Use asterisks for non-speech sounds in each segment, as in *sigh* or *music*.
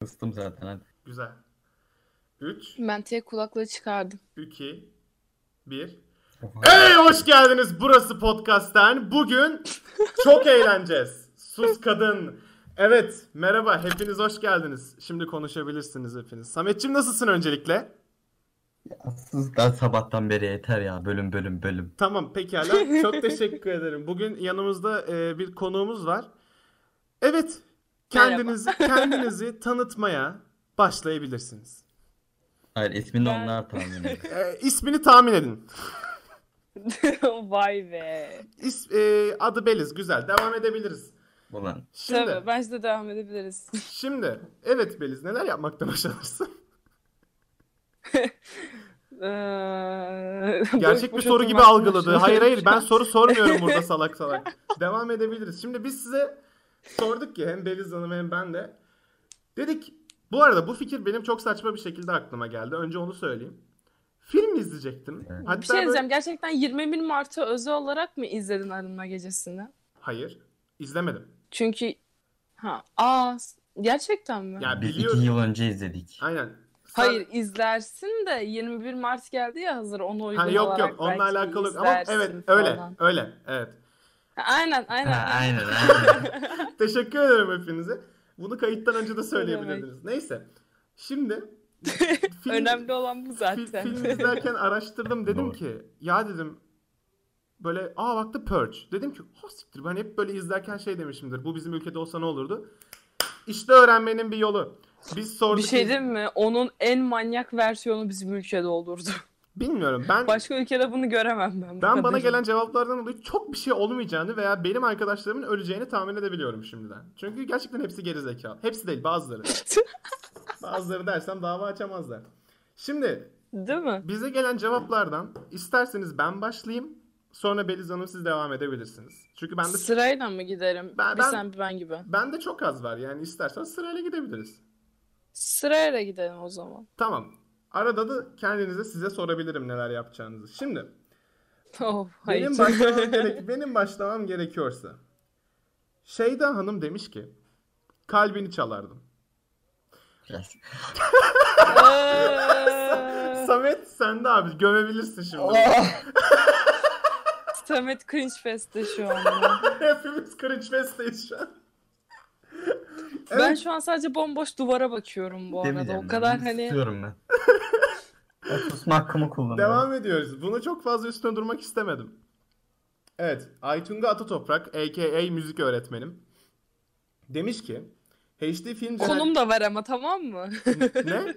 Kıstım zaten hadi. Güzel. 3, Ben tek kulaklığı çıkardım. 2, 1. Hey hoş geldiniz. Burası podcast'ten. Bugün çok eğleneceğiz. Sus kadın. Evet, merhaba. Hepiniz hoş geldiniz. Şimdi konuşabilirsiniz hepiniz. Sametçim nasılsın öncelikle? Sus daha sabahtan beri yeter ya. Bölüm bölüm bölüm. Tamam, pekala. Çok teşekkür ederim. Bugün yanımızda e, bir konuğumuz var. Evet, kendinizi kendinizi tanıtmaya başlayabilirsiniz. Hayır ismini Ben- onlar tahmin ediyor. E, ismini tahmin edin. *laughs* Vay be. İs, e, adı Beliz. Güzel. Devam edebiliriz. Ulan. Şimdi, Tabii bence de devam edebiliriz. *laughs* şimdi evet Beliz neler yapmakta başarırsın? Eee, Gerçek bir boş boş soru gibi oturmak algıladı. boş Hayır hayır oturmak. ben soru sormuyorum *laughs* burada salak salak. Devam edebiliriz. Şimdi biz size sorduk ki hem Beliz Hanım hem ben de. Dedik bu arada bu fikir benim çok saçma bir şekilde aklıma geldi. Önce onu söyleyeyim. Film izleyecektim. Evet. Hatta Bir şey böyle- diyeceğim. Gerçekten 21 Mart'ı özel olarak mı izledin Arınma Gecesi'ni? Hayır izlemedim. Çünkü ha aa s- gerçekten mi? Ya Biz biliyorum. iki yıl önce izledik. Aynen. Sen- Hayır izlersin de 21 Mart geldi ya hazır ona uygun Ha, yok olarak yok onunla belki alakalı yok. Ama izlersin evet öyle falan. öyle evet. Ha, Aynen aynen. Ha, aynen *laughs* aynen. Teşekkür ederim hepinize. Bunu kayıttan önce de söyleyebilirdiniz. Neyse. Şimdi *laughs* film, Önemli olan bu fil- zaten. film izlerken araştırdım dedim Doğru. ki ya dedim böyle aa baktı Purge. Dedim ki ha siktir ben hep böyle izlerken şey demişimdir. Bu bizim ülkede olsa ne olurdu? İşte öğrenmenin bir yolu. Biz *laughs* bir sorduk. şey diyeyim mi? Onun en manyak versiyonu bizim ülkede olurdu. Bilmiyorum. Ben Başka ülkede bunu göremem ben. bu ben bana kadarıyla. gelen cevaplardan dolayı çok bir şey olmayacağını veya benim arkadaşlarımın öleceğini tahmin edebiliyorum şimdiden. Çünkü gerçekten hepsi geri zekalı. Hepsi değil bazıları. Bazıları dersem dava açamazlar. Şimdi *laughs* Değil mi? bize gelen cevaplardan isterseniz ben başlayayım. Sonra Beliz Hanım siz devam edebilirsiniz. Çünkü ben de Sırayla mı giderim? Ben- bir ben- sen bir ben gibi. ben de çok az var. Yani istersen sırayla gidebiliriz. Sırayla gidelim o zaman. *laughs* Tamam. Arada da kendinize size sorabilirim neler yapacağınızı. Şimdi Oh, hayır. benim başlamam, gerek, benim başlamam gerekiyorsa. Şeyda Hanım demiş ki kalbini çalardım. Biraz. *laughs* Eee, Samet sen de abi gömebilirsin şimdi. Samet cringe fest'te şu anda. *laughs* Hepimiz cringe fest'teyiz şu an. Ben şu an sadece bomboş duvara bakıyorum bu arada. Demeyeceğim O ben, kadar bunu hani Susuyorum *laughs* ben. ben susma hakkımı kullanıyorum. Devam ediyoruz. Bunu çok fazla üstüne durmak istemedim. Evet. Aytunga Atatoprak a.k.a. müzik öğretmenim. Demiş ki HD film konum da ver ama tamam mı? ne?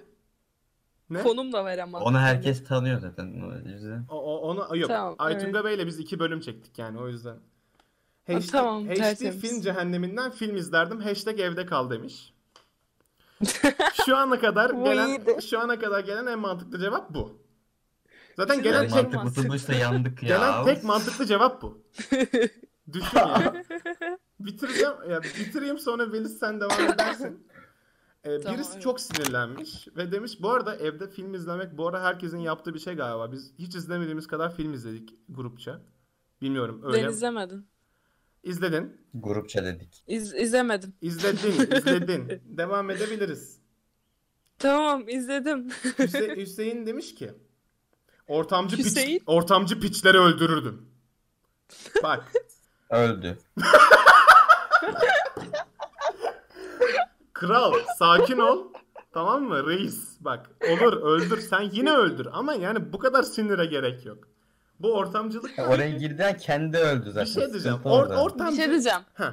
Ne? *laughs* konum da ver ama. Onu herkes tanıyor zaten. O yüzden. O, o- onu yok. Tamam, Aytunga Bey'le biz iki bölüm çektik yani o yüzden. Ha, HD, tamam, HD tertemiz. film cehenneminden film izlerdim. Hashtag evde kal demiş. *laughs* şu ana kadar Bu gelen iyiydi. şu ana kadar gelen en mantıklı cevap bu. Zaten Gelen Yani gelen tek- mantıklısı buysa *laughs* yandık ya. Gelen tek mantıklı cevap bu. *laughs* Düşün ya. bitireceğim, ya bitireyim sonra Velis sen devam edersin. Ee, Tamam, birisi evet. çok sinirlenmiş ve demiş bu arada evde film izlemek bu ara herkesin yaptığı bir şey galiba. Biz hiç izlemediğimiz kadar film izledik grupça. Bilmiyorum öyle. Hani Ben izlemedim. İzledin. Grupça dedik. İz, izlemedim. İzledin. *laughs* izledin. devam edebiliriz. Tamam izledim. Hüse- Hüseyin demiş ki ortamcı, piç- Hüseyin? ortamcı piçleri öldürürdüm. Bak Öldü. Kral sakin ol. Tamam mı reis? Bak olur öldür sen yine öldür ama yani bu kadar sinire gerek yok. Bu ortamcılık Ya Oraya girdiğinde kendi öldü bir zaten. şey diyeceğim. Sıkıntı Or, orada. Bir ortamcı... şey diyeceğim. Heh,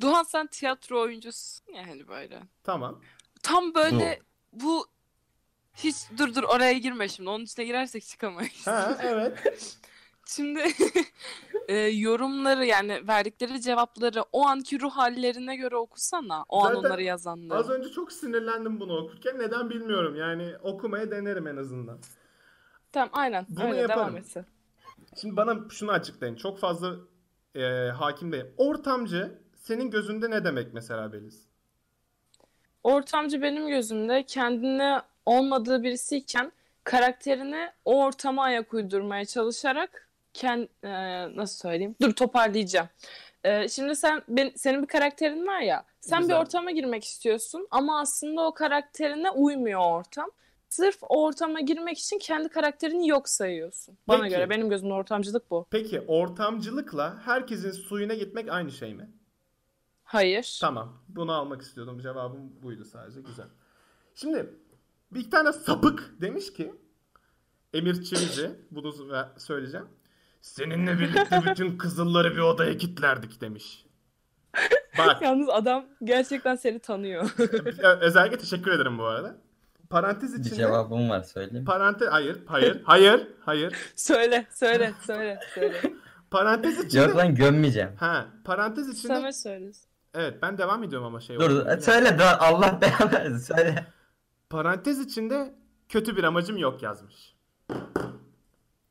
Duhan sen tiyatro oyuncusun yani böyle. tamam. Tam böyle bu hiç dur dur oraya girme şimdi. Onun içine girersek çıkamayız. Ha evet. Şimdi *laughs* e, yorumları yani verdikleri cevapları o anki ruh hallerine göre okusana. O an Zaten onları Az yazanları. önce çok sinirlendim bunu okurken. Neden bilmiyorum. Yani okumaya denerim en azından. Tamam aynen. Bunu öyle yaparım. devam etsin. Şimdi bana şunu açıklayın. Çok fazla e, hakim değilim. Ortamcı senin gözünde ne demek mesela Beliz? Ortamcı benim gözümde kendine olmadığı birisiyken karakterini o ortama ayak uydurmaya çalışarak kend, e, nasıl söyleyeyim? Dur toparlayacağım. E, Ee, şimdi sen ben, senin bir karakterin var ya. Sen Güzel. bir ortama girmek istiyorsun ama aslında o karakterine uymuyor o ortam. Sırf o ortama girmek için kendi karakterini yok sayıyorsun. Bana Peki. göre benim gözümde ortamcılık bu. Peki ortamcılıkla herkesin suyuna gitmek aynı şey mi? Hayır. Tamam. Bunu almak istiyordum. Cevabım buydu sadece. Güzel. Şimdi bir tane sapık demiş ki Emir Çivici bunu s- söyleyeceğim. Seninle birlikte bütün kızılları bir odaya kilitlerdik demiş. *laughs* Bak Yalnız adam gerçekten seni tanıyor. *laughs* ö- özellikle teşekkür ederim bu arada. Parantez Bir içinde cevabım var söyleyeyim. parantez hayır hayır hayır hayır söyle, söyle, söyle, söyle. parantez Yok içinde lan gömmeyeceğim. ha parantez içinde Samet söylesin. evet ben devam ediyorum ama şey Dur olarak. dur. söyle daha Allah belanı versin, söyle. Parantez içinde kötü bir amacım yok yazmış.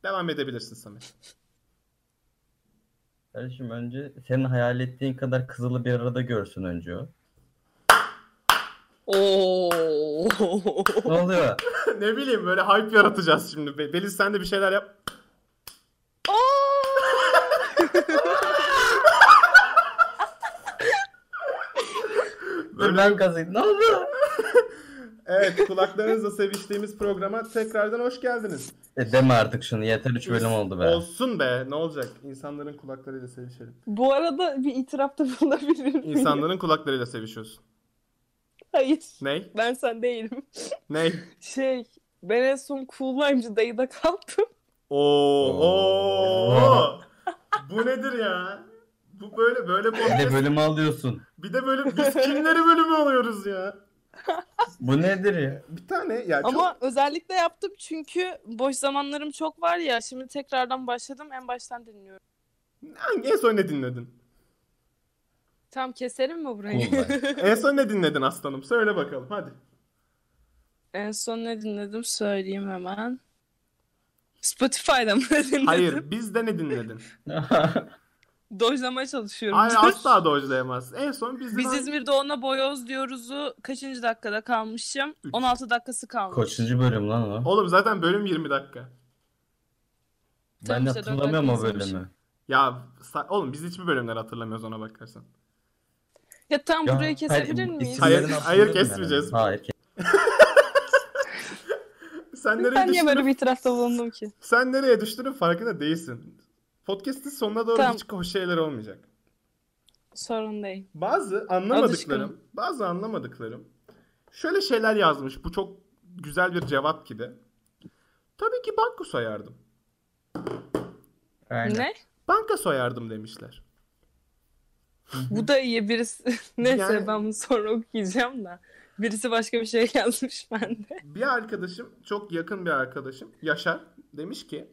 Devam edebilirsin Samet. *laughs* Kardeşim önce senin hayal ettiğin kadar kızılı bir arada görsün önce o. Oo. Ne *laughs* oluyor? ne bileyim böyle hype yaratacağız şimdi. Be- Beliz sen de bir şeyler yap. dur ben kazıyım. Ne oldu? Evet kulaklarınızla seviştiğimiz programa tekrardan hoş geldiniz. E, deme artık şunu yeter 3 bölüm oldu be. Olsun be ne olacak insanların kulaklarıyla sevişelim. *laughs* Bu arada bir itirafta bulunabilir miyim? İnsanların kulaklarıyla sevişiyorsun. Hayır. Ney? Ben sen değilim. Ney? Şey, ben en son Cool Lime'cı dayıda kaldım. Oo, Oo. oo. Bu nedir ya? Bu böyle böyle Bir de podcast. bölümü alıyorsun. Bir de böyle biz kimleri bölümü alıyoruz ya? Bu nedir *laughs* ya? Bir tane ya çok- Ama özellikle yaptım çünkü boş zamanlarım çok var ya. Şimdi tekrardan başladım. En baştan dinliyorum. Hangi en son ne dinledin? Tam keselim mi burayı? Cool en son ne dinledin aslanım? Söyle bakalım hadi. *laughs* en son ne dinledim söyleyeyim hemen. Spotify'da mı dinledim? Hayır bizde ne *laughs* dinledin? Dojlamaya çalışıyorum. Hayır Dur. asla dojlayamaz. En son bizde Biz İzmir'de ona boyoz diyoruzu kaçıncı dakikada kalmışım? 16 dakikası kalmış. Koçuncu bölüm lan o. Oğlum zaten bölüm 20 dakika. Ben Tamam işte, dört hatırlamıyorum o dakika bölümü. Ya sa- oğlum biz hiçbir bölümler hatırlamıyoruz ona bakarsan. Ya tam Ya, burayı kesebilir hayır, miyiz? isimlerini Hayır, hayır, hatırlıyorum ben. kesmeyeceğiz. Hayır kes- Sen nereye Ben niye düştün? böyle bir itirafta bulundum ki? Sen nereye düştüğünün farkında değilsin. Podcast'in sonuna doğru Tamam. hiç hoş şeyler olmayacak. Sorun değil. Bazı anlamadıklarım, bazı anlamadıklarım şöyle şeyler yazmış. Bu çok güzel bir cevap gibi. Tabii ki banka soyardım. Aynen. Ne? Banka soyardım demişler. Bu da iyi birisi. *laughs* Neyse Yani- ben bunu sonra okuyacağım da. Birisi başka bir şey *laughs* yazmış bende. Bir arkadaşım, çok yakın bir arkadaşım, Yaşar demiş ki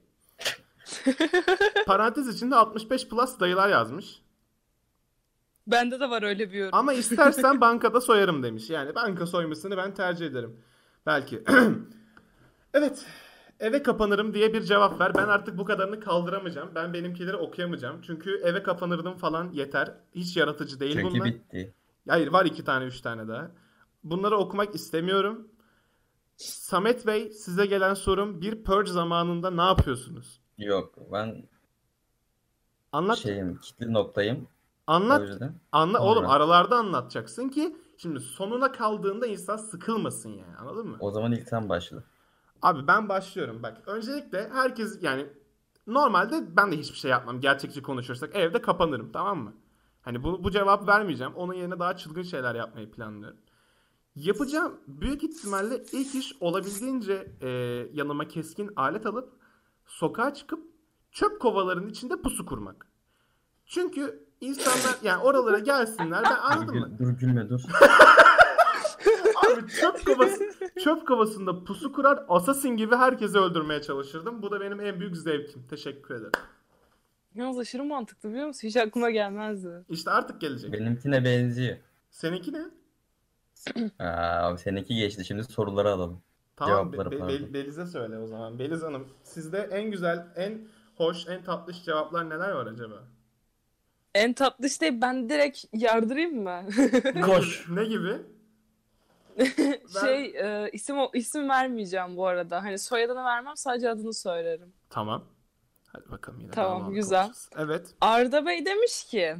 parantez içinde 65 plus dayılar yazmış. Bende de var öyle bir yorum. Ama istersen bankada soyarım demiş. Yani banka soymasını ben tercih ederim. Belki. *clears throat* evet. Eve kapanırım diye bir cevap ver. Ben artık bu kadarını kaldıramayacağım. Ben benimkileri okuyamayacağım. Çünkü eve kapanırdım falan yeter. Hiç yaratıcı değil Çünkü bunlar. bitti. Hayır var iki tane üç tane daha. Bunları okumak istemiyorum. Samet Bey size gelen sorum bir purge zamanında ne yapıyorsunuz? Yok ben Anlat. şeyim kitli noktayım. O anlat. yüzden. Anla oğlum Alright. aralarda anlatacaksın ki şimdi sonuna kaldığında insan sıkılmasın yani. Anladın mı? O zaman ilk sen başla. Abi ben başlıyorum bak. Öncelikle herkes yani normalde ben de hiçbir şey yapmam. Gerçekçi konuşursak evde kapanırım tamam mı? Hani bu, bu cevap vermeyeceğim. Onun yerine daha çılgın şeyler yapmayı planlıyorum. Yapacağım büyük ihtimalle ilk iş olabildiğince e, yanıma keskin alet alıp sokağa çıkıp çöp kovalarının içinde pusu kurmak. Çünkü insanlar yani oralara gelsinler ben Dur, anladın mı? gül- dur gülme *laughs* dur. Abi çöp kovası, çöp kovasında pusu kurar, assassin gibi herkesi öldürmeye çalışırdım. Bu da benim en büyük zevkim. Teşekkür ederim. Yalnız aşırı mantıklı biliyor musun? Hiç aklıma gelmezdi. İşte artık gelecek. Benimkine benziyor. Seninki ne? Aa, abi seninki geçti şimdi soruları *laughs* alalım. Tamam, Be- Cevapları Be- pardon. Beliz'e söyle o zaman. Beliz Hanım, sizde en güzel, en hoş, en tatlış cevaplar neler var acaba? En tatlı işte ben direkt yardırayım mı? *laughs* Koş. Ne gibi? şey e, isim isim vermeyeceğim bu arada. Hani soyadını vermem sadece adını söylerim. Tamam. Hadi bakalım yine. Tamam, davalık güzel. olacağız. Evet. Arda Bey demiş ki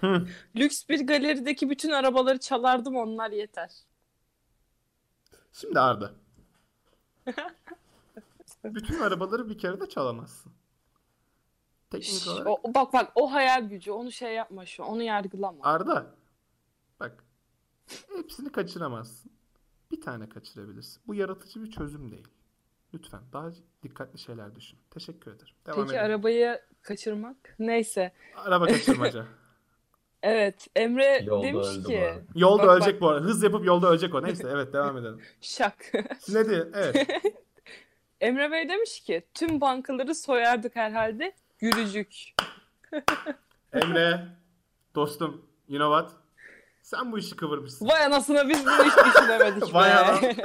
Hı. *laughs* lüks bir galerideki bütün arabaları çalardım onlar yeter. Şimdi *laughs* Arda. Bütün arabaları bir kere de çalamazsın. Teknik Şş, olarak. o- bak bak o hayal gücü onu şey yapma şu onu yargılama. Arda. Bak. Hepsini kaçıramazsın. Bir tane kaçırabilirsin. Bu yaratıcı bir çözüm değil. Lütfen daha dikkatli şeyler düşün. Teşekkür ederim. Devam Peki edelim. arabayı kaçırmak? Neyse. Araba *laughs* kaçırmaca. Evet Emre Yolda öldü demiş bu ki arada. Yolda Bak, bak. ölecek bu arada. Hız yapıp yolda ölecek o. Neyse evet devam edelim. şak. *laughs* Ne diyor? Evet. Emre Bey demiş ki tüm bankaları soyardık herhalde. Gülücük. Emre. Dostum. You know what? Sen bu işi kıvırmışsın. Vay anasına biz bunu hiç düşünemedik Vay be. anam. Ben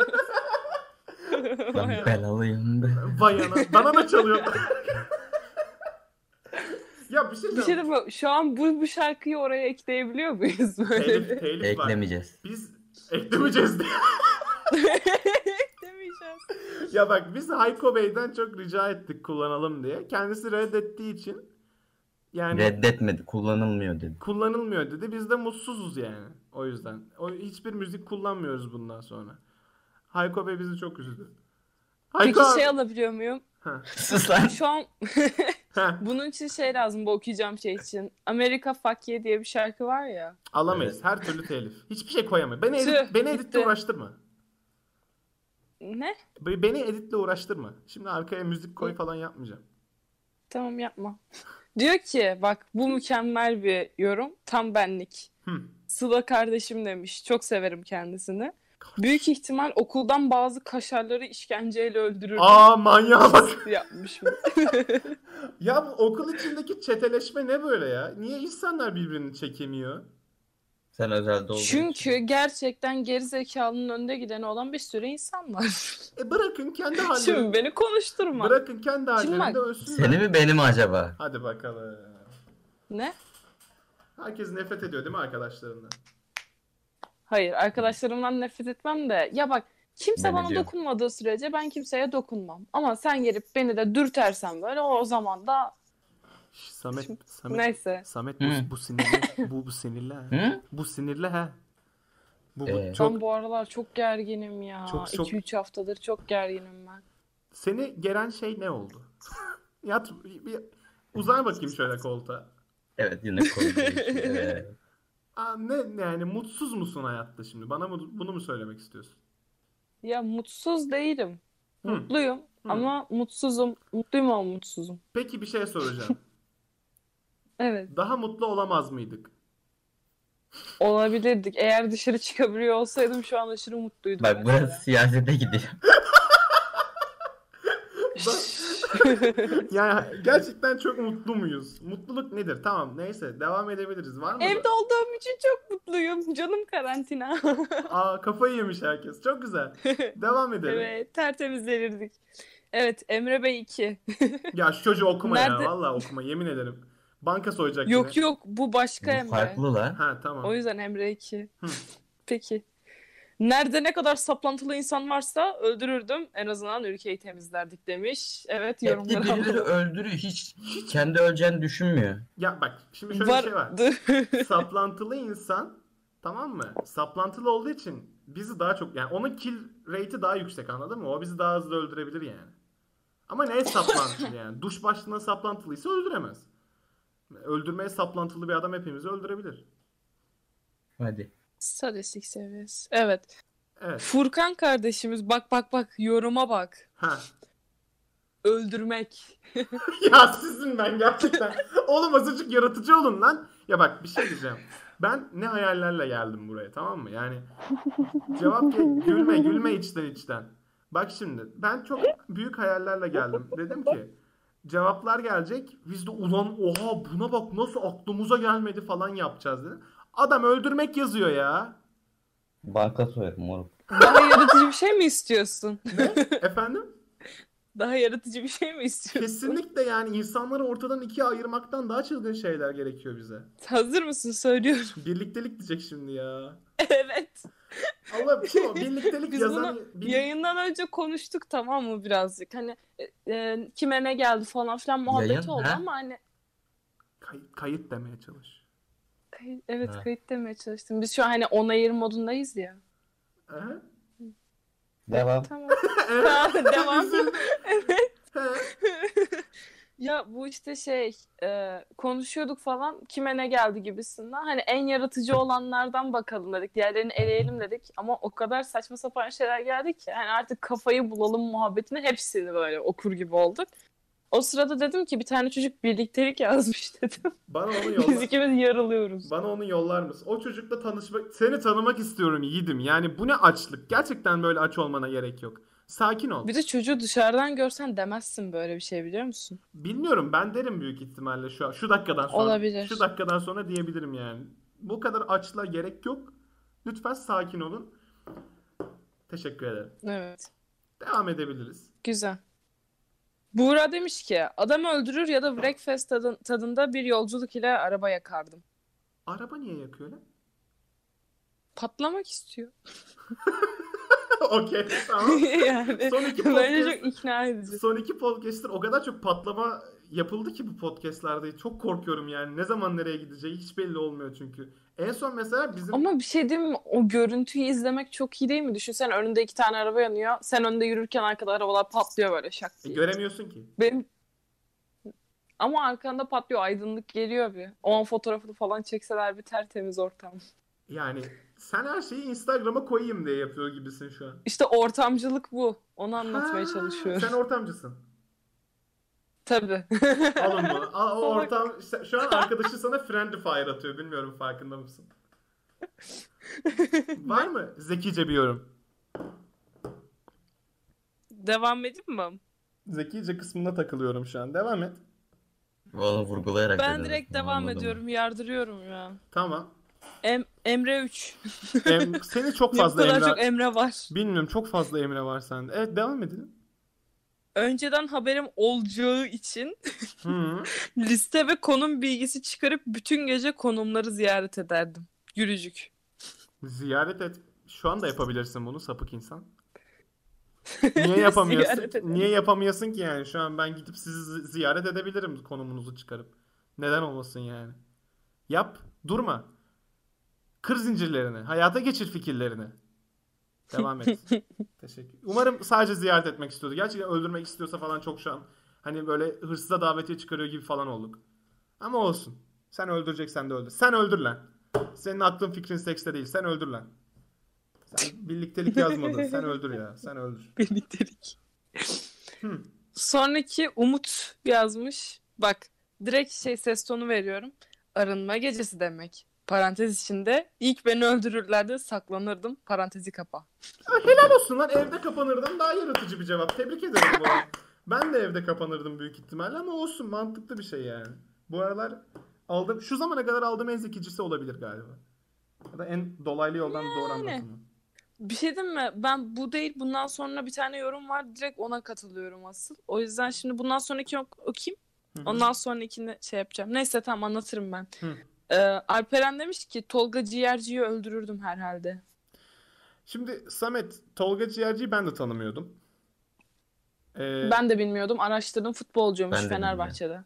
*laughs* Vay anam. belalıyım. Vay ana. Bana da *laughs* çalıyor. ya bir şey Bir şey söyleyeyim. de bu, şu an bu, bu şarkıyı oraya ekleyebiliyor muyuz böyle? *laughs* Telif, bir- telif var. Eklemeyeceğiz. Biz eklemeyeceğiz diye. Demeyeceğim. ya bak biz Hayko Bey'den çok rica ettik kullanalım diye. Kendisi reddettiği için yani Reddetmedi. Kullanılmıyor dedi. kullanılmıyor dedi. Biz de mutsuzuz yani. O yüzden. O, hiçbir müzik kullanmıyoruz bundan sonra. Hayko Bey bizi çok üzdü. Peki Hayko şey alabiliyor muyum? Sus lan. Şu an Heh, bunun için şey lazım bu okuyacağım şey için. Amerika Fuck Yeah diye bir şarkı var ya. alamayız. Her türlü telif. Hiçbir şey koyamayız. Beni, edit, Tüh, beni editle gitti. uğraştırma. Ne? Be- Beni editle uğraştırma. Şimdi arkaya müzik koy falan yapmayacağım. Tamam yapma. Diyor ki bak bu mükemmel bir yorum. Tam benlik. Hı. Sıla kardeşim demiş. Çok severim kendisini. Büyük ihtimal okuldan bazı kaşarları işkenceyle öldürür. *laughs* Aa manyağa bak. yapmış bu. Ya bu okul içindeki çeteleşme ne böyle ya? Niye insanlar birbirini çekemiyor? Sen özelde olduğun Çünkü için. gerçekten geri zekalının önde gideni olan bir sürü insan var. E bırakın kendi hallerinde. Şimdi beni konuşturma. Bırakın kendi hallerinde bak- ölsünler. Seni mi beni mi acaba? Hadi bakalım. Ne? Herkes nefret ediyor değil mi arkadaşlarından? Hayır arkadaşlarımdan nefret etmem de ya bak kimse Ben bana ediyorum. dokunmadığı sürece ben kimseye dokunmam. Ama sen gelip beni de dürtersen böyle o zaman da Şş, Samet, Samet, neyse. Samet Hı. bu, bu sinirli, bu, bu sinirli ha. Hı? Bu sinirli ha. Bu, bu Ee? çok, Ben bu aralar çok gerginim ya. Çok, çok- 2-3 haftadır çok gerginim ben. seni geren şey ne oldu? *laughs* Yat, bir, bir uzan bakayım şöyle koltuğa. Evet yine konuşuyoruz. *laughs* Aa, ne, ne yani mutsuz musun hayatta şimdi? Bana mı, bunu mu söylemek istiyorsun? Ya mutsuz değilim. Hı. Mutluyum ama mutsuzum. Mutluyum ama mutsuzum. Peki bir şey soracağım. Evet Daha mutlu olamaz mıydık? olabilirdik. Eğer dışarı çıkabiliyor olsaydım şu an aşırı mutluydum. Ee, Bak mesela. burası siyasete gidiyor. Yani gerçekten çok mutlu muyuz? Mutluluk nedir? Tamam neyse devam edebiliriz. Var mı? *laughs* Evde olduğum için çok mutluyum. Canım karantina. Aa kafayı yemiş herkes. Çok *laughs* güzel. Devam edelim. Evet, tertemizlenirdik. Evet, Emre Bey 2. Ya şu çocuğu okuma Nerede- ya. Vallahi okuma yemin ederim. Banka soyacak Yok yine. yok, bu başka Bu Emre. farklı la. Ha tamam. O yüzden Emre 2. Hı. Peki. Nerede ne kadar saplantılı insan varsa öldürürdüm. En azından ülkeyi temizlerdik demiş. Hep Evet, de yorumları birileri öldürüyor. Hiç kendi öleceğini düşünmüyor. Ya bak şimdi şöyle bir şey var. Vardı. *laughs* Saplantılı insan tamam mı? Saplantılı olduğu için bizi daha çok yani onun kill rate'i daha yüksek anladın mı? O bizi daha hızlı öldürebilir yani. Ama neye saplantılı yani? Duş başlığına saplantılıysa öldüremez. Öldürmeye saplantılı bir adam hepimizi öldürebilir. Hadi. Sadistik seviyesi. Evet. Evet. Furkan kardeşimiz bak bak bak yoruma bak. Ha. Öldürmek. *laughs* ya sizin ben gerçekten. Oğlum azıcık yaratıcı olun lan. Ya bak bir şey diyeceğim. Ben ne hayallerle geldim buraya tamam mı? Yani cevap ge- gülme gülme içten içten. Bak şimdi ben çok büyük hayallerle geldim. Dedim ki cevaplar gelecek. Biz de ulan oha buna bak nasıl aklımıza gelmedi falan yapacağız dedim. Adam öldürmek yazıyor ya. Banka soyarım moruk. Daha yaratıcı bir şey mi istiyorsun? *laughs* Efendim? Daha yaratıcı bir şey mi istiyorsun? Kesinlikle yani insanları ortadan ikiye ayırmaktan daha çılgın şeyler gerekiyor bize. Hazır mısın? Söylüyorum. *laughs* Birliktelik diyecek şimdi ya. Evet. Allah kim o? şey Birliktelik Biz yazan... birlik- Yayından önce konuştuk tamam mı birazcık? Hani e, e, kime ne geldi falan filan muhabbeti Yayın, oldu ha? ama hani Kayıt, kayıt demeye çalış. kayıt, evet Ha. kayıt demeye çalıştım. Biz şu an hani ona ayır modundayız ya. Ee? Devam. *laughs* Tamam. Evet. Ha, Devam. Üzüldüm. He. *laughs* Ya bu işte şey e, konuşuyorduk falan kime ne geldi gibisinden. Hani en yaratıcı olanlardan bakalım dedik. Diğerlerini eleyelim dedik. Ama o kadar saçma sapan şeyler geldi ki. Hani artık kafayı bulalım muhabbetine hepsini böyle okur gibi olduk. O sırada dedim ki bir tane çocuk birliktelik yazmış *laughs* dedim. Bana onu Biz yolla. ikimiz yarılıyoruz. Bana onu yollar mısın? O çocukla tanışmak, seni tanımak istiyorum yiğidim. Yani bu ne açlık? Gerçekten böyle aç olmana gerek yok. Sakin ol. Bir de çocuğu dışarıdan görsen demezsin böyle bir şey biliyor musun? Bilmiyorum ben derim büyük ihtimalle şu an- şu dakikadan sonra. Olabilir. Şu dakikadan sonra diyebilirim yani. Bu kadar açlığa gerek yok. Lütfen sakin olun. Teşekkür ederim. Evet. Devam edebiliriz. Güzel. Buğra demiş ki adam öldürür ya da breakfast tadın- tadında bir yolculuk ile araba yakardım. Araba niye yakıyor lan? *laughs* patlamak istiyor. Okey tamam. *laughs* yani *laughs* Son iki böyle podcast, çok ikna edici. son iki podcast'tir o kadar çok patlama yapıldı ki bu podcast'lerde. Çok korkuyorum yani. Ne zaman nereye gideceği hiç belli olmuyor çünkü. En son mesela bizim Ama bir şey diyeyim mi? O görüntüyü izlemek çok iyi değil mi? Düşünsen önünde iki tane araba yanıyor. Sen önde yürürken arkada arabalar patlıyor böyle şak E, diye. göremiyorsun ki. Benim... Ama arkanda patlıyor. Aydınlık geliyor bir. O an fotoğrafını falan çekseler bir tertemiz ortam. Yani sen her şeyi Instagram'a koyayım diye yapıyor gibisin şu an. İşte ortamcılık bu. Onu anlatmaya Ha, çalışıyorum. Sen ortamcısın. Tabii. *laughs* Alın bunu. Al, o Salak. ortam, işte şu an arkadaşı sana friendly fire atıyor. Bilmiyorum farkında *laughs* mısın? Var mı zekice bir yorum? Devam edeyim mi? Zekice kısmına takılıyorum şu an. Devam et. Valla vurgulayarak Ben dedim. direkt devam Anladım. ediyorum. Yardırıyorum ya. Tamam. Em- Emre 3. *laughs* Em, seni çok Ne fazla kadar Emre... çok Emre var. Bilmiyorum çok fazla Emre var sende. Evet devam edelim. önceden haberim olacağı için Hı. liste ve konum bilgisi çıkarıp bütün gece konumları ziyaret ederdim. Gülücük. *laughs* Ziyaret et. Şu anda yapabilirsin bunu sapık insan. Niye yapamıyorsun? Ziyaret edelim. Niye yapamıyorsun ki yani? Şu an ben gidip sizi zi- ziyaret edebilirim konumunuzu çıkarıp. Neden olmasın yani? Yap, durma. Kır zincirlerini, hayata geçir fikirlerini. Devam et. Teşekkür. Umarım sadece ziyaret etmek istiyordu. Gerçekten öldürmek istiyorsa falan çok şu an hani böyle hırsıza davetiye çıkarıyor gibi falan olduk. Ama olsun. Sen öldüreceksen de öldür. Sen öldür lan. Senin aklın fikrin sekste değil. Sen öldür lan. Sen birliktelik yazmadın. Sen öldür ya. Sen öldür. Birliktelik. Hmm. Sonraki Umut yazmış. Bak direkt şey ses tonu veriyorum. Arınma gecesi demek. Parantez içinde ilk beni öldürürlerdi saklanırdım. Parantezi kapa. olsun lan evde kapanırdım daha yaratıcı bir cevap. Tebrik ederim bu arada. Ben de evde kapanırdım büyük ihtimalle ama olsun mantıklı bir şey yani. Bu aralar aldım şu zamana kadar aldığım en zekicisi olabilir galiba. Ya da en dolaylı yoldan doğru anlatımı. Bir şey diyeyim mi? Ben bu değil bundan sonra bir tane yorum var. Direkt ona katılıyorum asıl. O yüzden şimdi bundan sonraki ok- okuyayım. Hı hı. Ondan sonrakini şey yapacağım. Neyse tamam anlatırım ben. Hı. Ee, Alperen demiş ki Tolga Ciğerci'yi öldürürdüm herhalde. Şimdi Samet Tolga Ciğerci'yi ben de tanımıyordum. Ee, Ben de bilmiyordum. Araştırdım futbolcuymuş Ben de Fenerbahçe'de.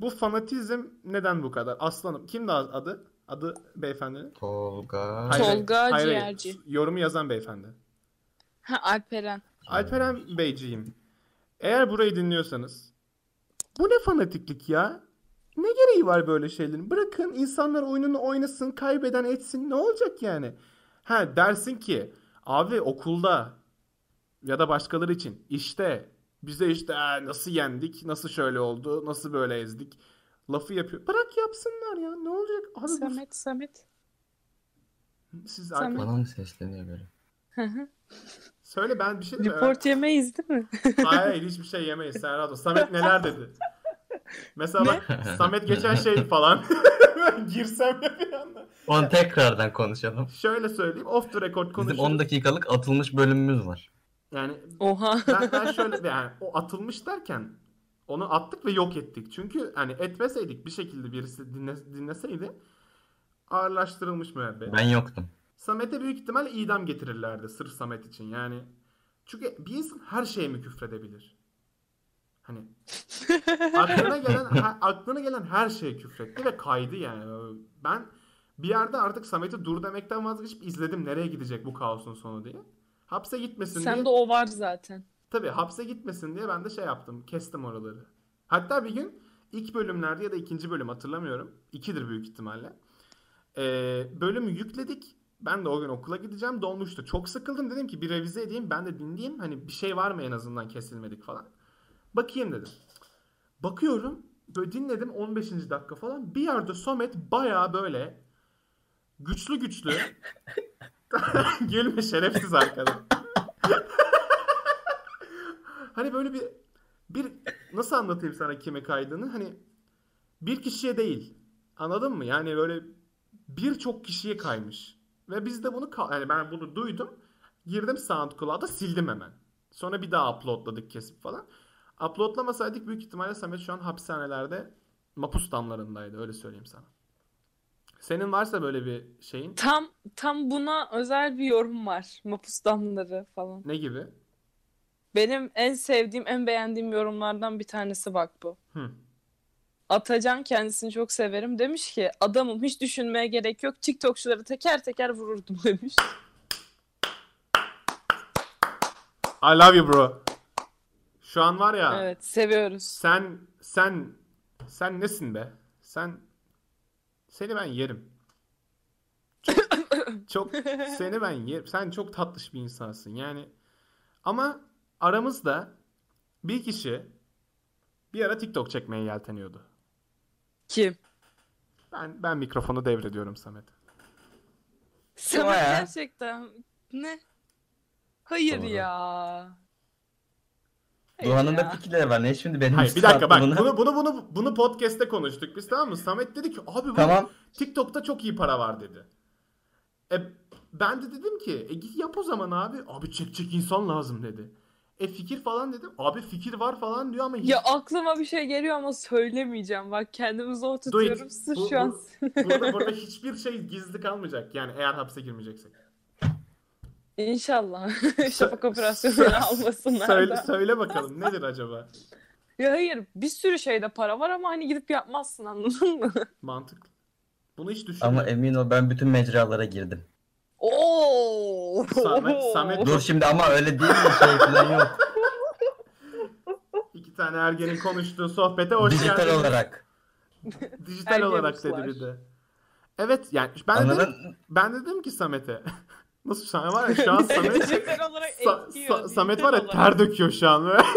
Bu fanatizm neden bu kadar? Aslanım. Kimdi adı? Adı beyefendinin? Tolga. Hayır. Tolga Ciğerci. Yorumu yazan beyefendi. Ha Alperen. Alperen Beyciğim. Eğer burayı dinliyorsanız. Bu ne fanatiklik ya? Ne gereği var böyle şeylerin? Bırakın insanlar oyununu oynasın, kaybeden etsin. Ne olacak yani? Ha dersin ki abi okulda ya da başkaları için işte bize işte "Aa, nasıl yendik, nasıl şöyle oldu, nasıl böyle ezdik lafı yapıyor. Bırak yapsınlar ya. Ne olacak? Abi bu- Samet Samet. siz Samet. arka- Bana mı sesleniyor böyle? Hı hı. söyle ben bir şey demiyorum. Report yemeyiz değil mi? Hayır hayır, hiçbir şey yemeyiz Serhat o. Samet neler dedi? Mesela bak *laughs* Samet geçen şey falan. *laughs* Girsem ya bir anda. Onu tekrardan konuşalım. Şöyle söyleyeyim off the record Bizim konuşuruz. 10 dakikalık atılmış bölümümüz var. Yani *laughs* Oha. ben, ben şöyle yani o atılmış derken onu attık ve yok ettik. Çünkü hani etmeseydik bir şekilde birisi dinle, dinleseydi ağırlaştırılmış müebbet. Ben yoktum. Samet'e büyük ihtimal idam getirirlerdi sırf Samet için yani. Çünkü bir insan her şeye mi küfredebilir? Hani aklına gelen ha- aklına gelen her şeye küfretti ve kaydı yani. Ben bir yerde artık Samet'i dur demekten vazgeçip izledim nereye gidecek bu kaosun sonu diye. Hapse gitmesin diye. Sende o var zaten. Tabii hapse gitmesin diye ben de şey yaptım. Kestim oraları. Hatta bir gün ilk bölümlerde ya da ikinci bölüm hatırlamıyorum. İkidir büyük ihtimalle. Ee, bölümü yükledik. Ben de o gün okula gideceğim. Dolmuştu. Çok sıkıldım. Dedim ki bir revize edeyim. Ben de dinleyeyim. Hani bir şey var mı en azından kesilmedik falan. Bakayım dedim. Bakıyorum. Böyle dinledim 15. dakika falan. Bir yerde Somet bayağı böyle güçlü güçlü *laughs* gülme şerefsiz arkadaş. *laughs* Hani böyle bir bir nasıl anlatayım sana kime kaydığını? Hani bir kişiye değil. Anladın mı? Yani böyle birçok kişiye kaymış. Ve biz de bunu ka- yani ben bunu duydum. Girdim SoundCloud'a sildim hemen. Sonra bir daha uploadladık kesip falan. Uploadlamasaydık büyük ihtimalle Samet şu an hapishanelerde mapus damlarındaydı öyle söyleyeyim sana. Senin varsa böyle bir şeyin Tam tam buna özel bir yorum var. Mapus damları falan. ne gibi? Benim en sevdiğim, en beğendiğim yorumlardan bir tanesi bak bu. Hı. Atacan kendisini çok severim demiş ki adamım hiç düşünmeye gerek yok TikTokçuları teker teker vururdum *laughs* demiş. I love you bro. Şu an var ya Evet seviyoruz. Sen sen sen nesin be? Sen seni ben yerim. Çok, çok seni ben yerim. Sen çok tatlış bir insansın. Yani ama aramızda bir kişi bir ara TikTok çekmeye yelteniyordu. Kim? Ben ben mikrofonu devrediyorum Samet. Sana ya? gerçekten ne? Hayır Doğru. ya. Hayır Doğan'ın ya. da fikirleri var. Ne şimdi benim Hayır bir dakika bak saklımına- bunu bunu bunu bunu podcast'te konuştuk biz tamam mı? Samet dedi ki abi bu Tamam. TikTok'ta çok iyi para var dedi. E, ben de dedim ki e, git yap o zaman abi. Abi çekecek insan lazım dedi. E fikir falan dedim. Abi fikir var falan diyor ama hiç- Ya aklıma bir şey geliyor ama söylemeyeceğim. Bak kendimi zor tutuyorum. Sırf Bu- şu an. *laughs* burada, burada hiçbir şey gizli kalmayacak. Yani eğer hapse girmeyeceksek. *laughs* İnşallah. Şafak Sö- operasyonları *laughs* almasınlar Söyle, da. söyle bakalım nedir acaba? Ya hayır bir sürü şeyde para var ama hani gidip yapmazsın anladın mı? Mantıklı. Bunu hiç Ama e- düşünmedim. emin ol ben bütün mecralara girdim. Oo. Samet- Samet- *laughs* Dur şimdi ama öyle değil mi şey falan yok. İki tane ergenin konuştuğu sohbete *laughs* hoş Dijital geldiniz. olarak. Dijital olarak dedi Ergen bir de. Evet yani ben de, dedim, Anladın? ben de dedim ki Samet'e. *laughs* Nasıl şu an var ya *laughs* şu an Samet Dijital olarak Sa- ekliyor, Sa- Samet dijital var ya olarak. ter döküyor şu an. *laughs*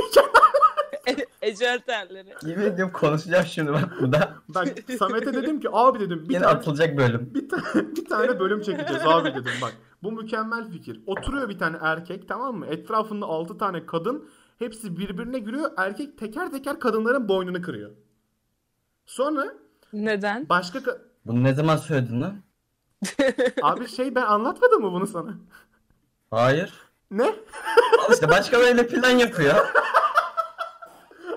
E- ecel terleri. Yemin ediyorum konuşacağım şimdi bak burada. bak Samet'e dedim ki abi dedim bir Yine tane, atılacak bölüm. *laughs* bir, ta- bir tane bölüm çekeceğiz abi dedim bak. Bu mükemmel fikir. Oturuyor bir tane erkek tamam mı? Etrafında 6 tane kadın. Hepsi birbirine giriyor. Erkek teker teker kadınların boynunu kırıyor. Sonra Neden? başka ka- Bunu ne zaman söyledin lan? abi şey ben anlatmadım mı bunu sana? *laughs* Hayır. Ne? Al işte başkalarıyla plan yapıyor.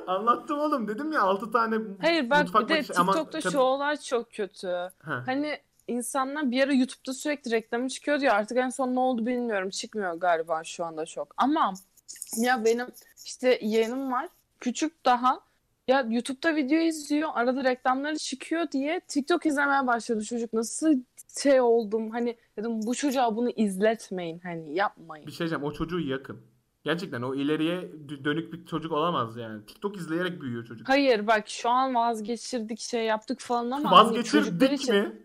Anlattım oğlum dedim ya 6 tane Hayır bak mutfak bir de makinesi- Aman, TikTok'ta kad- şu olay çok kötü. Ha. Hani insanlar bir ara YouTube'da sürekli reklamı çıkıyor ya artık en son ne oldu bilmiyorum. Çıkmıyor galiba şu anda çok. Ama ya benim işte yeğenim var. Küçük daha. Ya YouTube'da video izliyor. Arada reklamları çıkıyor diye TikTok izlemeye başladı çocuk. Nasıl şey oldum hani dedim bu çocuğa bunu izletmeyin hani yapmayın. Bir şey diyeceğim o çocuğu yakın. Gerçekten o ileriye dö- dönük bir çocuk olamaz yani. TikTok izleyerek büyüyor çocuk. Hayır bak şu an vazgeçirdik şey yaptık falan ama hani çocuklar Vazgeçirdik için mi?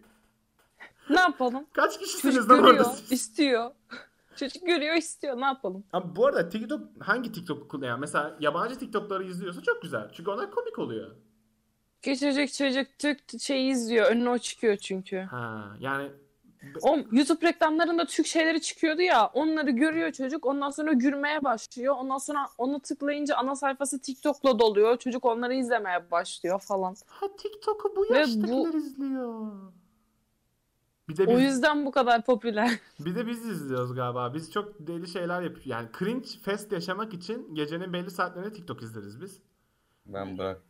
ne yapalım? Kaç Çocuk kişisiniz lan görüyor, orada? siz? istiyor. *laughs* Çocuk görüyor, istiyor. Ne yapalım? Abi bu arada TikTok hangi TikTok kullanıyor? Mesela yabancı TikTok'ları izliyorsa çok güzel. Çünkü onlar komik oluyor. Geçecek çocuk Türk şeyi izliyor. Önüne o çıkıyor çünkü. Ha yani O YouTube reklamlarında Türk şeyleri çıkıyordu ya. Onları görüyor çocuk. Ondan sonra gülmeye başlıyor. Ondan sonra onu tıklayınca ana sayfası TikTok'la doluyor. Çocuk onları izlemeye başlıyor falan. ha TikTok'u bu Ve yaştakiler izliyor. Bir de O biz, yüzden bu kadar popüler. bir de biz izliyoruz galiba. Biz çok deli şeyler yapıyoruz. Yani cringe fest yaşamak için gecenin belli saatlerinde TikTok izleriz biz. Ben bırak.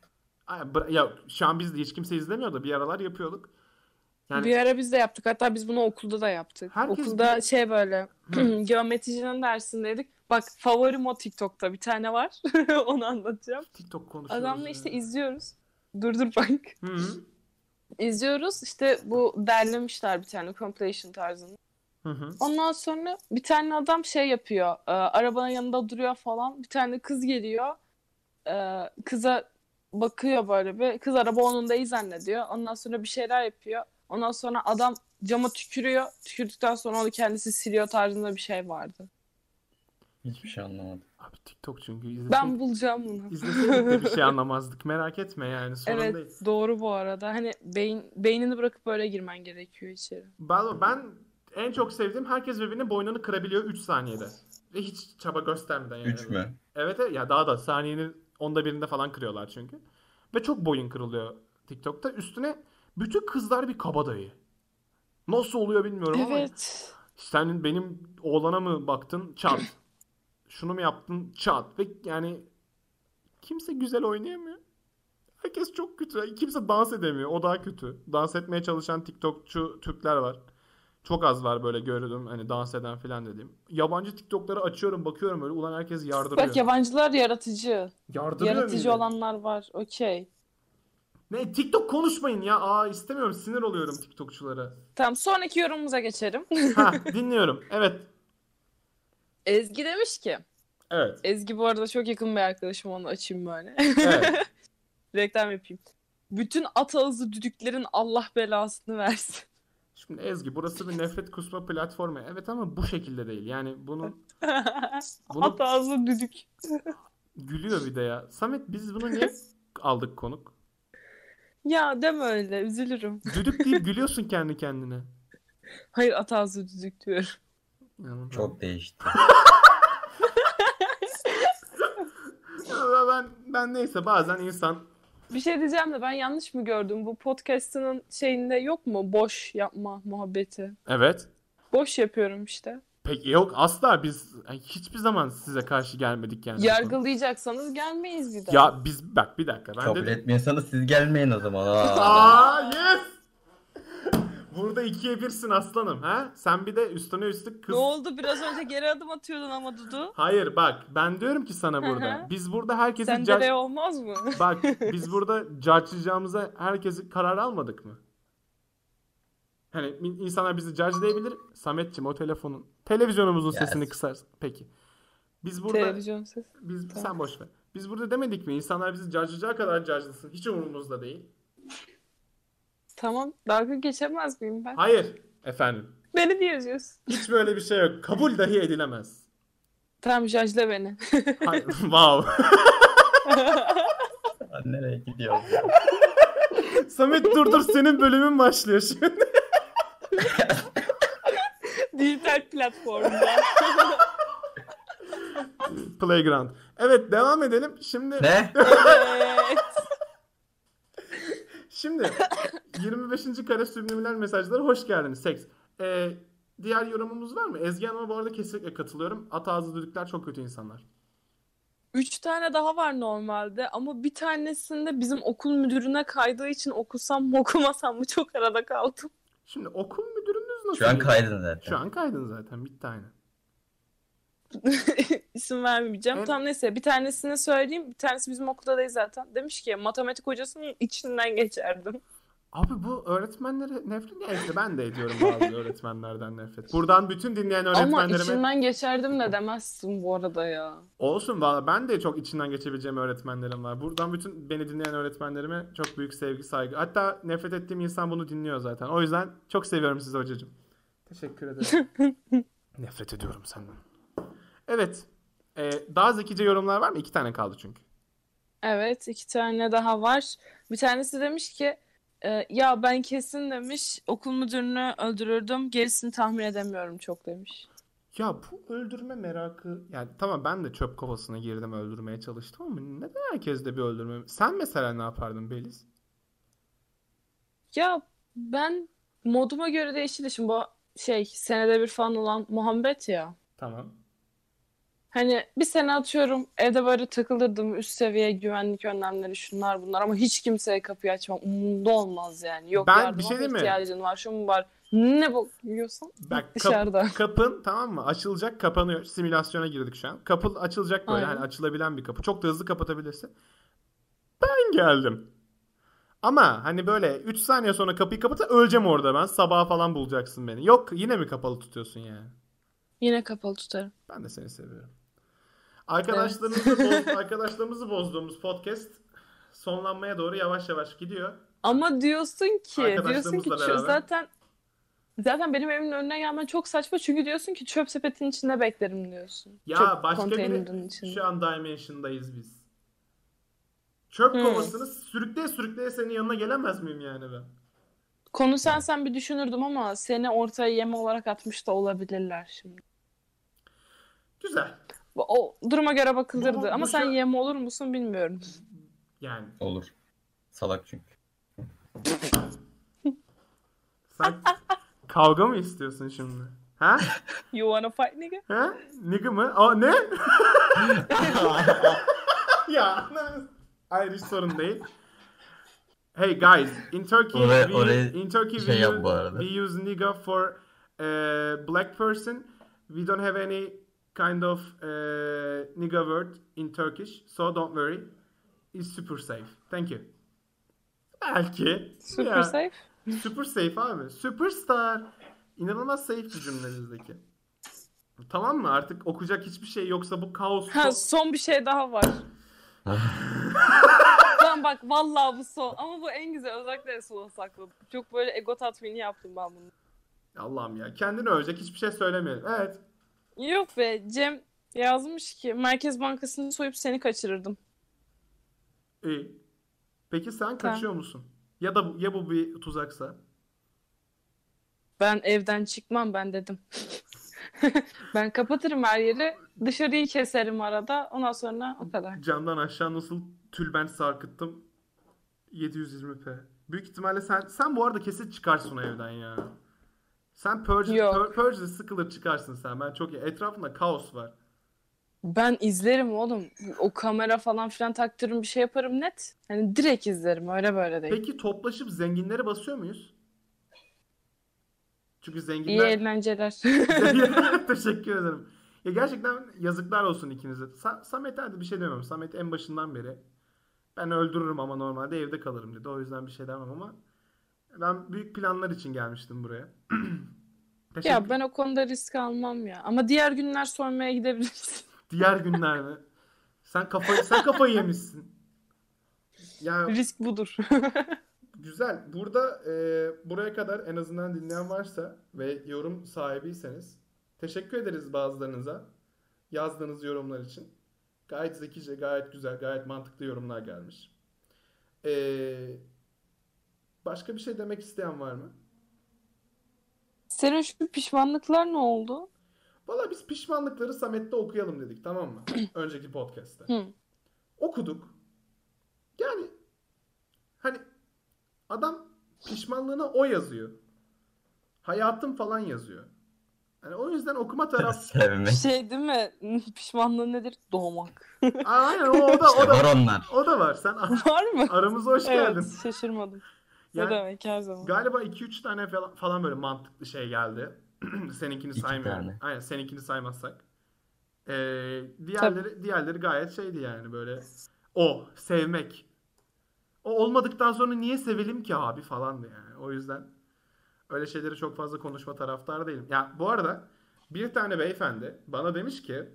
Ay, bıra- Ya şu an biz de hiç kimse izlemiyor da bir aralar yapıyorduk. Yani Bir ara biz de yaptık. Hatta biz bunu okulda da yaptık. Herkes okulda şey böyle Hı. *clears throat* geometricinin dersindeydik. Bak favorim o TikTok'ta bir tane var. *laughs* Onu anlatacağım. TikTok konuşuyoruz. Adamla işte yani. izliyoruz. Dur dur bak. Hı hı. İzliyoruz. İşte bu derlemişler bir tane compilation tarzında. Hı hı. Ondan sonra bir tane adam şey yapıyor. e, arabanın yanında duruyor falan. Bir tane kız geliyor. E, kıza bakıyor böyle bir. Kız araba onun değil zannediyor. Ondan sonra bir şeyler yapıyor. Ondan sonra adam cama tükürüyor. Tükürdükten sonra onu kendisi siliyor tarzında bir şey vardı. Hiçbir şey anlamadım. Abi TikTok çünkü izleseydik, *laughs* Ben bulacağım bunu. izleseydik de bir şey anlamazdık. Merak etme yani sorun Evet değil. *laughs* doğru bu arada. Hani beyin, beynini bırakıp böyle girmen gerekiyor içeri. Ben, ben en çok sevdiğim herkes birbirinin boynunu kırabiliyor 3 saniyede. Ve hiç çaba göstermeden yani. 3 mü? Evet evet. ya daha da saniyenin onda birinde falan kırıyorlar çünkü. Ve çok boyun kırılıyor TikTok'ta. Üstüne bütün kızlar bir kabadayı. Nasıl oluyor bilmiyorum ama. Evet. Sen benim oğlana mı baktın? Çat. *clears throat* Şunu mu yaptın? Çat. Ve yani kimse güzel oynayamıyor. Herkes çok kötü. Kimse dans edemiyor. O daha kötü. Dans etmeye çalışan TikTokçu Türkler var. Çok az var böyle gördüm hani dans eden filan dediğim. Yabancı TikTok'ları açıyorum bakıyorum böyle ulan herkes yardırıyor. Bak yabancılar yaratıcı. yardırıyor Yaratıcı muydu? olanlar var. Okey. Ne TikTok konuşmayın ya. Aa istemiyorum sinir oluyorum TikTokçulara. Tamam sonraki yorumumuza geçelim. *laughs* ha dinliyorum. Evet. Ezgi demiş ki. Evet. Ezgi bu arada çok yakın bir arkadaşım onu açayım böyle. *laughs* Evet. Reklam yapayım. Bütün at ağzı düdüklerin Allah *laughs* belasını versin. Şimdi Ezgi burası bir nefret kusma platformu. Evet ama bu şekilde değil. Yani bunu Bunu- At ağzı düdük. gülüyor bir de ya. Samet biz bunu niye *laughs* aldık konuk? Ya deme öyle üzülürüm. Düdük deyip gülüyorsun kendi kendine. Hayır at ağzı düdük diyorum. İnanılmaz. Çok değişti. Ya Ben, ben neyse bazen insan Bir şey diyeceğim de ben yanlış mı gördüm? Bu podcast'ının şeyinde yok mu? Boş yapma muhabbeti. evet Boş yapıyorum işte. Peki yok asla biz yani hiçbir zaman size karşı gelmedik yani. bu konuda. Yargılayacaksanız gelmeyiz bir daha. Ya biz bak bir dakika ben Kabul dedim. etmiyorsanız siz gelmeyin o zaman. Aa. Aa yes. Burada ikiye birsin aslanım ha? Sen bir de üstüne üstlük kız Ne oldu? Biraz önce geri adım atıyordun ama Dudu. Hayır bak ben diyorum ki sana burada. hı. Biz burada herkesi Sende judge- de olmaz *laughs* mı? Bak biz burada judge'layacağımıza herkesi karar almadık mı? Hani in- insanlar bizi judge'layabilir. Sametçim o telefonun televizyonumuzun Yes. sesini kısar. Peki. Biz burada Televizyon ses. biz Tamam. sen boş ver. Biz burada demedik mi? İnsanlar bizi judge'layacağı kadar judge'lasın. Hiç umurumuzda değil. Tamam. Dalga geçemez miyim ben? Hayır efendim. Beni diyeceğiz. Hiç böyle bir şey yok. Kabul dahi edilemez. Tamam jajla *laughs* beni. *laughs* Hayır. wow. Nereye gidiyoruz? Samet dur dur senin bölümün başlıyor şimdi. Dijital *laughs* platformda. Playground. Evet devam edelim. Şimdi ne? evet. *laughs* Şimdi 25. kare subliminal mesajlara hoş geldiniz. Seks. Ee, diğer yorumumuz var mı? Ezgi Hanım'a bu arada kesinlikle katılıyorum. At ağzı düdükler çok kötü insanlar. Üç tane daha var normalde ama bir tanesinde bizim okul müdürüne kaydığı için okusam mı okumasam mı çok arada kaldım. *laughs* Şimdi okul müdürünüz nasıl? Şu an biri? kaydın zaten. Şu an kaydın zaten. Bitti aynen. İsim vermeyeceğim. Evet. Tam neyse bir tanesini söyleyeyim. Bir tanesi bizim okulda değil zaten. Demiş ki matematik hocasının içinden geçerdim. Abi bu öğretmenlere nefret neyse ben de ediyorum *laughs* bazı öğretmenlerden nefret. Buradan bütün dinleyen Ama öğretmenlerime içinden geçerdim de demezsin bu arada ya. olsun valla ben de çok içinden geçebileceğim öğretmenlerim var. Buradan bütün beni dinleyen öğretmenlerime çok büyük sevgi saygı. Hatta nefret ettiğim insan bunu dinliyor zaten. O yüzden çok seviyorum sizi hocacığım. Teşekkür ederim. *laughs* Nefret ediyorum senden. Evet. Ee, daha zekice yorumlar var mı? İki tane kaldı çünkü. Evet, iki tane daha var. Bir tanesi demiş ki e, ya ben kesin demiş okul müdürünü öldürürdüm. Gerisini tahmin edemiyorum çok demiş. Ya bu öldürme merakı yani tamam ben de çöp kafasına girdim öldürmeye çalıştım ama neden herkeste bir öldürme? Sen mesela ne yapardın Beliz? Ya ben moduma göre değişir. Şimdi bu şey senede bir falan olan muhabbet ya. Tamam. Hani bir sene atıyorum evde böyle takılırdım üst seviye güvenlik önlemleri şunlar bunlar ama hiç kimseye kapıyı açmam umurumda olmaz yani. Yok Ben bir yardıma şey diyeyim mi? ihtiyacın var şu mu var ne bok yiyorsan Bak kap- dışarıda. kapın tamam mı? Açılacak kapanıyor. Simülasyona girdik şu an. Kapı açılacak böyle Aynen. hani açılabilen bir kapı. Çok da hızlı kapatabilirsin. Ben geldim. Ama hani böyle 3 saniye sonra kapıyı kapatsa öleceğim orada ben. Sabaha falan bulacaksın beni. Yok yine mi kapalı tutuyorsun yani? Yine kapalı tutarım. Ben de seni seviyorum. Arkadaşlarımızı, boz- *laughs* arkadaşlarımızı bozduğumuz podcast sonlanmaya doğru yavaş yavaş gidiyor. Ama diyorsun ki diyorsun ki Arkadaşlarımızla çö- beraber. zaten zaten benim evimin önüne gelmen çok saçma çünkü diyorsun ki çöp sepetinin içinde beklerim diyorsun. Ya Çöp başka konteynerinin bir şey- içinde. şu an Dimension'dayız biz. Çöp Hmm. kovasını sürükleye sürükleye senin yanına gelemez miyim yani ben? Konu sensen bir düşünürdüm ama seni ortaya yem olarak atmış da olabilirler şimdi. Güzel. Bu- O duruma göre bakılırdı Bu- bu ama şu- sen yem olur musun bilmiyorum. *laughs* Yani Olur. Salak çünkü. sen kavga mı istiyorsun şimdi? Ha? You wanna fight nigga? Ha? Nigga mı? Aa ne? *laughs* ya. Hayır hiç sorun değil. Hey guys, in Turkey Oraya- we, oraya in Turkey şey we, yap use, bu arada. we use nigga for eh, black person. We don't have any kind of eh, nigga word in Turkish, so don't worry. It's super safe. Thank you. Belki. Super Ya. safe. Super safe abi. Superstar. İnanılmaz safe bir cümle bizdeki. Tamam mı? Artık okuyacak hiçbir şey yoksa bu kaos. Ha son bir şey *laughs* daha var. Lan bak vallahi bu son ama bu en güzel özellikle de sona sakladım. Çok böyle ego tatmini yaptım ben bunu. Allah'ım ya. Kendini övecek hiçbir şey söylemeyelim. Evet. Yok be Cem yazmış ki Merkez Bankası'nı soyup seni kaçırırdım. İyi. E, Peki sen kaçıyor musun? Ya da bu- ya bu bir tuzaksa? Ben evden çıkmam ben dedim. *laughs* ben kapatırım her yeri. Dışarıyı keserim arada. Ondan sonra o kadar. Camdan aşağı nasıl tülbent sarkıttım? 720p. Büyük ihtimalle sen sen bu arada kesin çıkarsın o evden ya. Sen Purge, Yok. Pur- Purge'de sıkılır çıkarsın sen. Ben çok Etrafında kaos var. Ben izlerim oğlum. O kamera falan filan taktırırım bir şey yaparım net. Hani direkt izlerim öyle böyle değil. Peki toplaşıp zenginlere basıyor muyuz? Çünkü İyi zenginler... eğlenceler. *laughs* *laughs* Teşekkür ederim. Ya gerçekten yazıklar olsun ikinize. Sa- Samet'e hadi bir şey demiyorum. Samet en başından beri ben öldürürüm ama normalde evde kalırım dedi. O yüzden bir şey demem ama ben büyük planlar için gelmiştim buraya. *clears throat* Teşekkür. ya ben o konuda risk almam ya. Ama diğer günler sormaya gidebilirsin. Diğer günler mi? Sen kafayı sen kafayı yemişsin. *laughs* Ya *laughs* risk budur. Güzel. Burada e, buraya kadar en azından dinleyen varsa ve yorum sahibiyseniz teşekkür ederiz bazılarınıza yazdığınız yorumlar için. Gayet zekice, gayet güzel, gayet mantıklı yorumlar gelmiş. E, başka bir şey demek isteyen var mı? Senin şu pişmanlıklar ne oldu? Valla biz pişmanlıkları Samet'te okuyalım dedik tamam *clears throat* mı? Önceki podcast'te. Hı. Okuduk. Yani hani adam pişmanlığına o yazıyor. Hayatım falan yazıyor. Yani o yüzden okuma taraf. Sevmek. Şey değil mi? *laughs* Pişmanlığı nedir? Doğmak. *laughs* Aa, Aynen o, o da o İşte var da onlar. o da var. Sen Var mı? aramıza hoş geldin. Evet şaşırmadım. Yani- Ne demek her zaman. Galiba 2-3 tane falan, falan böyle mantıklı şey geldi. *clears throat* seninkini İki saymıyorum. tane. Aynen seninkini saymazsak. Ee, diğerleri diğerleri gayet şeydi yani böyle o sevmek. O olmadıktan sonra niye sevelim ki abi falandı yani. O yüzden öyle şeyleri çok fazla konuşma taraftar değilim. Ya bu arada bir tane beyefendi bana demiş ki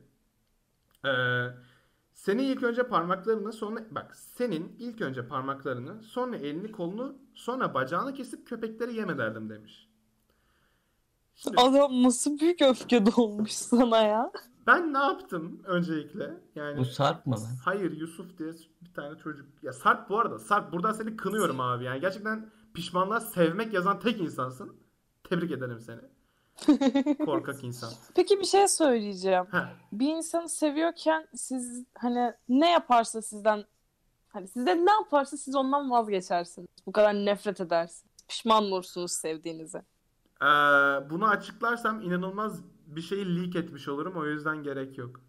ee, senin ilk önce parmaklarını sonra bak senin ilk önce parmaklarını sonra elini kolunu sonra bacağını kesip köpekleri yem ederdim demiş. Şimdi Adam nasıl büyük öfke dolmuş sana ya. ben ne yaptım öncelikle? Yani Bu Sarp mı lan? hayır Yusuf diye bir tane çocuk. Ya Sarp bu arada Sarp buradan seni kınıyorum abi yani gerçekten pişmanlığa sevmek yazan tek insansın. Tebrik ederim seni. Korkak insan. Peki bir şey söyleyeceğim. Heh. Bir insanı seviyorken siz hani ne yaparsa sizden hani sizden ne yaparsa siz ondan vazgeçersiniz. Bu kadar nefret edersiniz. Pişman olursunuz sevdiğinize. Ee, şey bunu açıklarsam inanılmaz bir şeyi leak etmiş olurum. O yüzden gerek yok.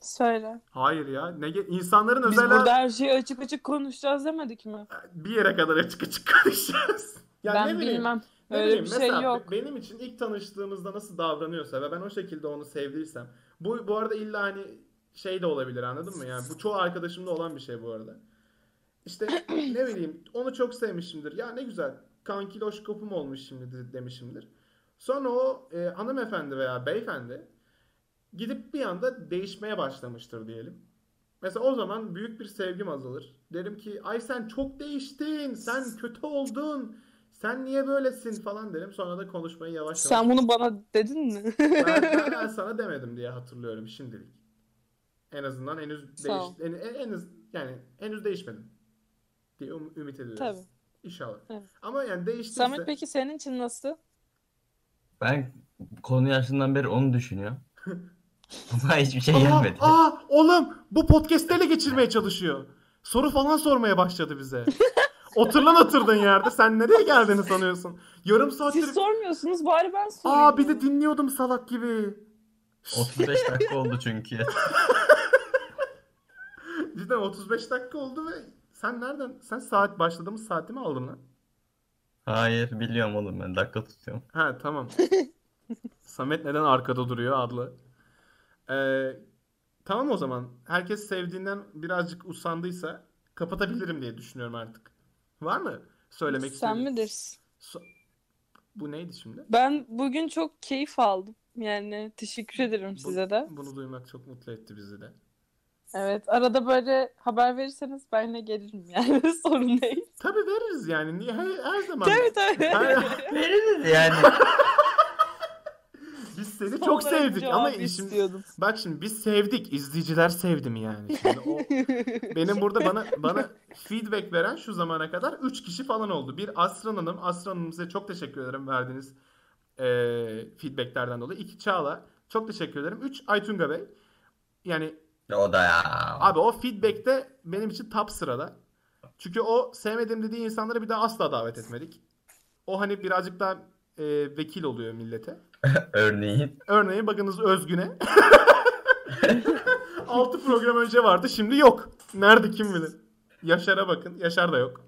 Söyle. Hayır ya. Ne ge- insanların Biz özel burada her şeyi açık açık konuşacağız demedik mi? bir yere kadar açık açık konuşacağız. Ya ben ne bileyim. bilmem. ne Öyle bileyim, bir şey mesela be- yok. Benim için ilk tanıştığımızda nasıl davranıyorsa ve ben o şekilde onu sevdiysem. Bu bu arada illa hani şey de olabilir anladın mı? Yani bu çoğu arkadaşımda olan bir şey bu arada. İşte *clears throat* ne bileyim onu çok sevmişimdir. Ya ne güzel kankiloş kopum olmuş şimdi de- demişimdir. Sonra o e, hanımefendi veya beyefendi gidip bir anda değişmeye başlamıştır diyelim. Mesela o zaman büyük bir sevgim azalır. Derim ki ay sen çok değiştin, sen kötü oldun, sen niye böylesin falan derim. Sonra da konuşmayı yavaş yavaş. Sen bunu bana dedin mi? Ben, ben- ben sana demedim diye hatırlıyorum şimdilik. En azından henüz Sağ değiş, ol. en, en- henüz yani henüz değişmedim diye um- ümit ediyoruz. Tabii. İnşallah. Evet. Ama yani değiştirse *laughs* Samet peki senin için nasıl? Ben konu yaşından beri onu *laughs* düşünüyorum. Ama hiçbir şey Aa, gelmedi. aa, oğlum bu podcast'te ele geçirmeye çalışıyor. Soru falan sormaya başladı *laughs* bize. Otur lan oturdun yerde. Sen nereye geldiğini sanıyorsun? Yarım saattir... Siz sormuyorsunuz bari ben sorayım. Aa bir de dinliyordum salak gibi. 35 dakika oldu çünkü. Cidden 35 dakika oldu ve sen nereden? Sen saat başladığımız saati mi aldın lan? Hayır biliyorum oğlum ben dakika tutuyorum. Ha *laughs* tamam. Samet neden arkada duruyor adlı. Ee, tamam o zaman. Herkes sevdiğinden birazcık usandıysa kapatabilirim diye düşünüyorum artık. Var mı söylemek Sen istediğin? midir? So- Bu neydi şimdi? Ben bugün çok keyif aldım. Yani teşekkür ederim Bu- size de. Bunu duymak çok mutlu etti bizi de. Evet arada böyle haber verirseniz ben yine gelirim yani *laughs* sorun değil. Tabii veririz yani. Niye her, her zaman. Tabii tabii. Her- *laughs* Veririz yani. biz seni Son *laughs* çok olarak bu sevdik ama cevabı işim istiyordum. *laughs* bak şimdi biz sevdik. izleyiciler sevdi mi yani? Şimdi *laughs* o benim burada bana bana feedback veren şu zamana kadar 3 kişi falan oldu. Bir Asran Hanım. Asran Hanım size çok teşekkür ederim verdiğiniz eee feedbacklerden dolayı. İki Çağla. Çok teşekkür ederim. Üç Aytunga Bey. Yani o da ya. Abi o feedback'te benim için top sırada. Çünkü o sevmediğim dediği insanları bir daha asla davet etmedik. O hani birazcık daha e, vekil oluyor millete. Örneğin. Örneğin bakınız Özgün'e. 6 program önce vardı şimdi yok. Nerede kim bilir. Yaşar'a bakın. Yaşar da yok.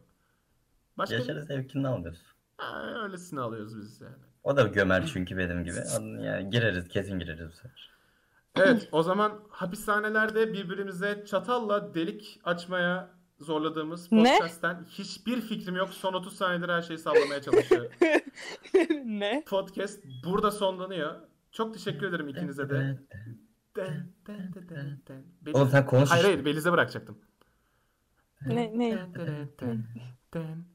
Başka Yaşar'ın zevkini alırız. Ha, öylesini alıyoruz biz yani. O da gömer çünkü benim gibi. Yani gireriz kesin gireriz bu sefer. Evet, o zaman hapishanelerde birbirimize çatalla delik açmaya zorladığımız Ne? podcast'ten hiçbir fikrim yok. Son 30 saniyedir her şeyi sallamaya çalışıyor. ne? Podcast burada sonlanıyor. Çok teşekkür ederim ikinize de. Den, den, den, den, den. Belize- Oğlum sen konuş. Hayır hayır Beliz'e bırakacaktım. Ne? Ne? Den, den, den, den,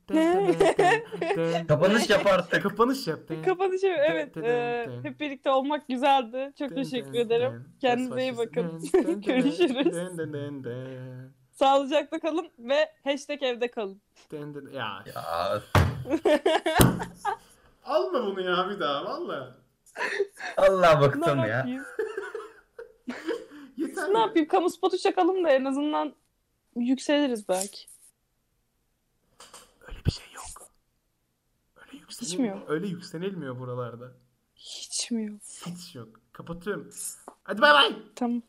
den, den, den, den. Kapanış yap artık. Kapanış yap. Den, Kapanışı evet. Dın dın e, dın. hep birlikte olmak güzeldi. Çok den, teşekkür den, ederim. den. Kendinize iyi That's what bakın. she said. *laughs* Den, den, den, Görüşürüz. den, den, den, den. Sağlıcakla kalın ve hashtag evde kalın. Den, den- Ya Ya, Alma bunu ya bir daha valla. Allah Ne bıktım ya. yapayım? Yeter. Ne yapayım? Kamu spotu çakalım da en azından yükseliriz belki. Öyle bir şey yok. Öyle yükselilmiyor. Hiç mi yok? Öyle yükselilmiyor buralarda. Hiç mi yok? Hiç yok. Kapatıyorum. Hadi bay bay. Tamam.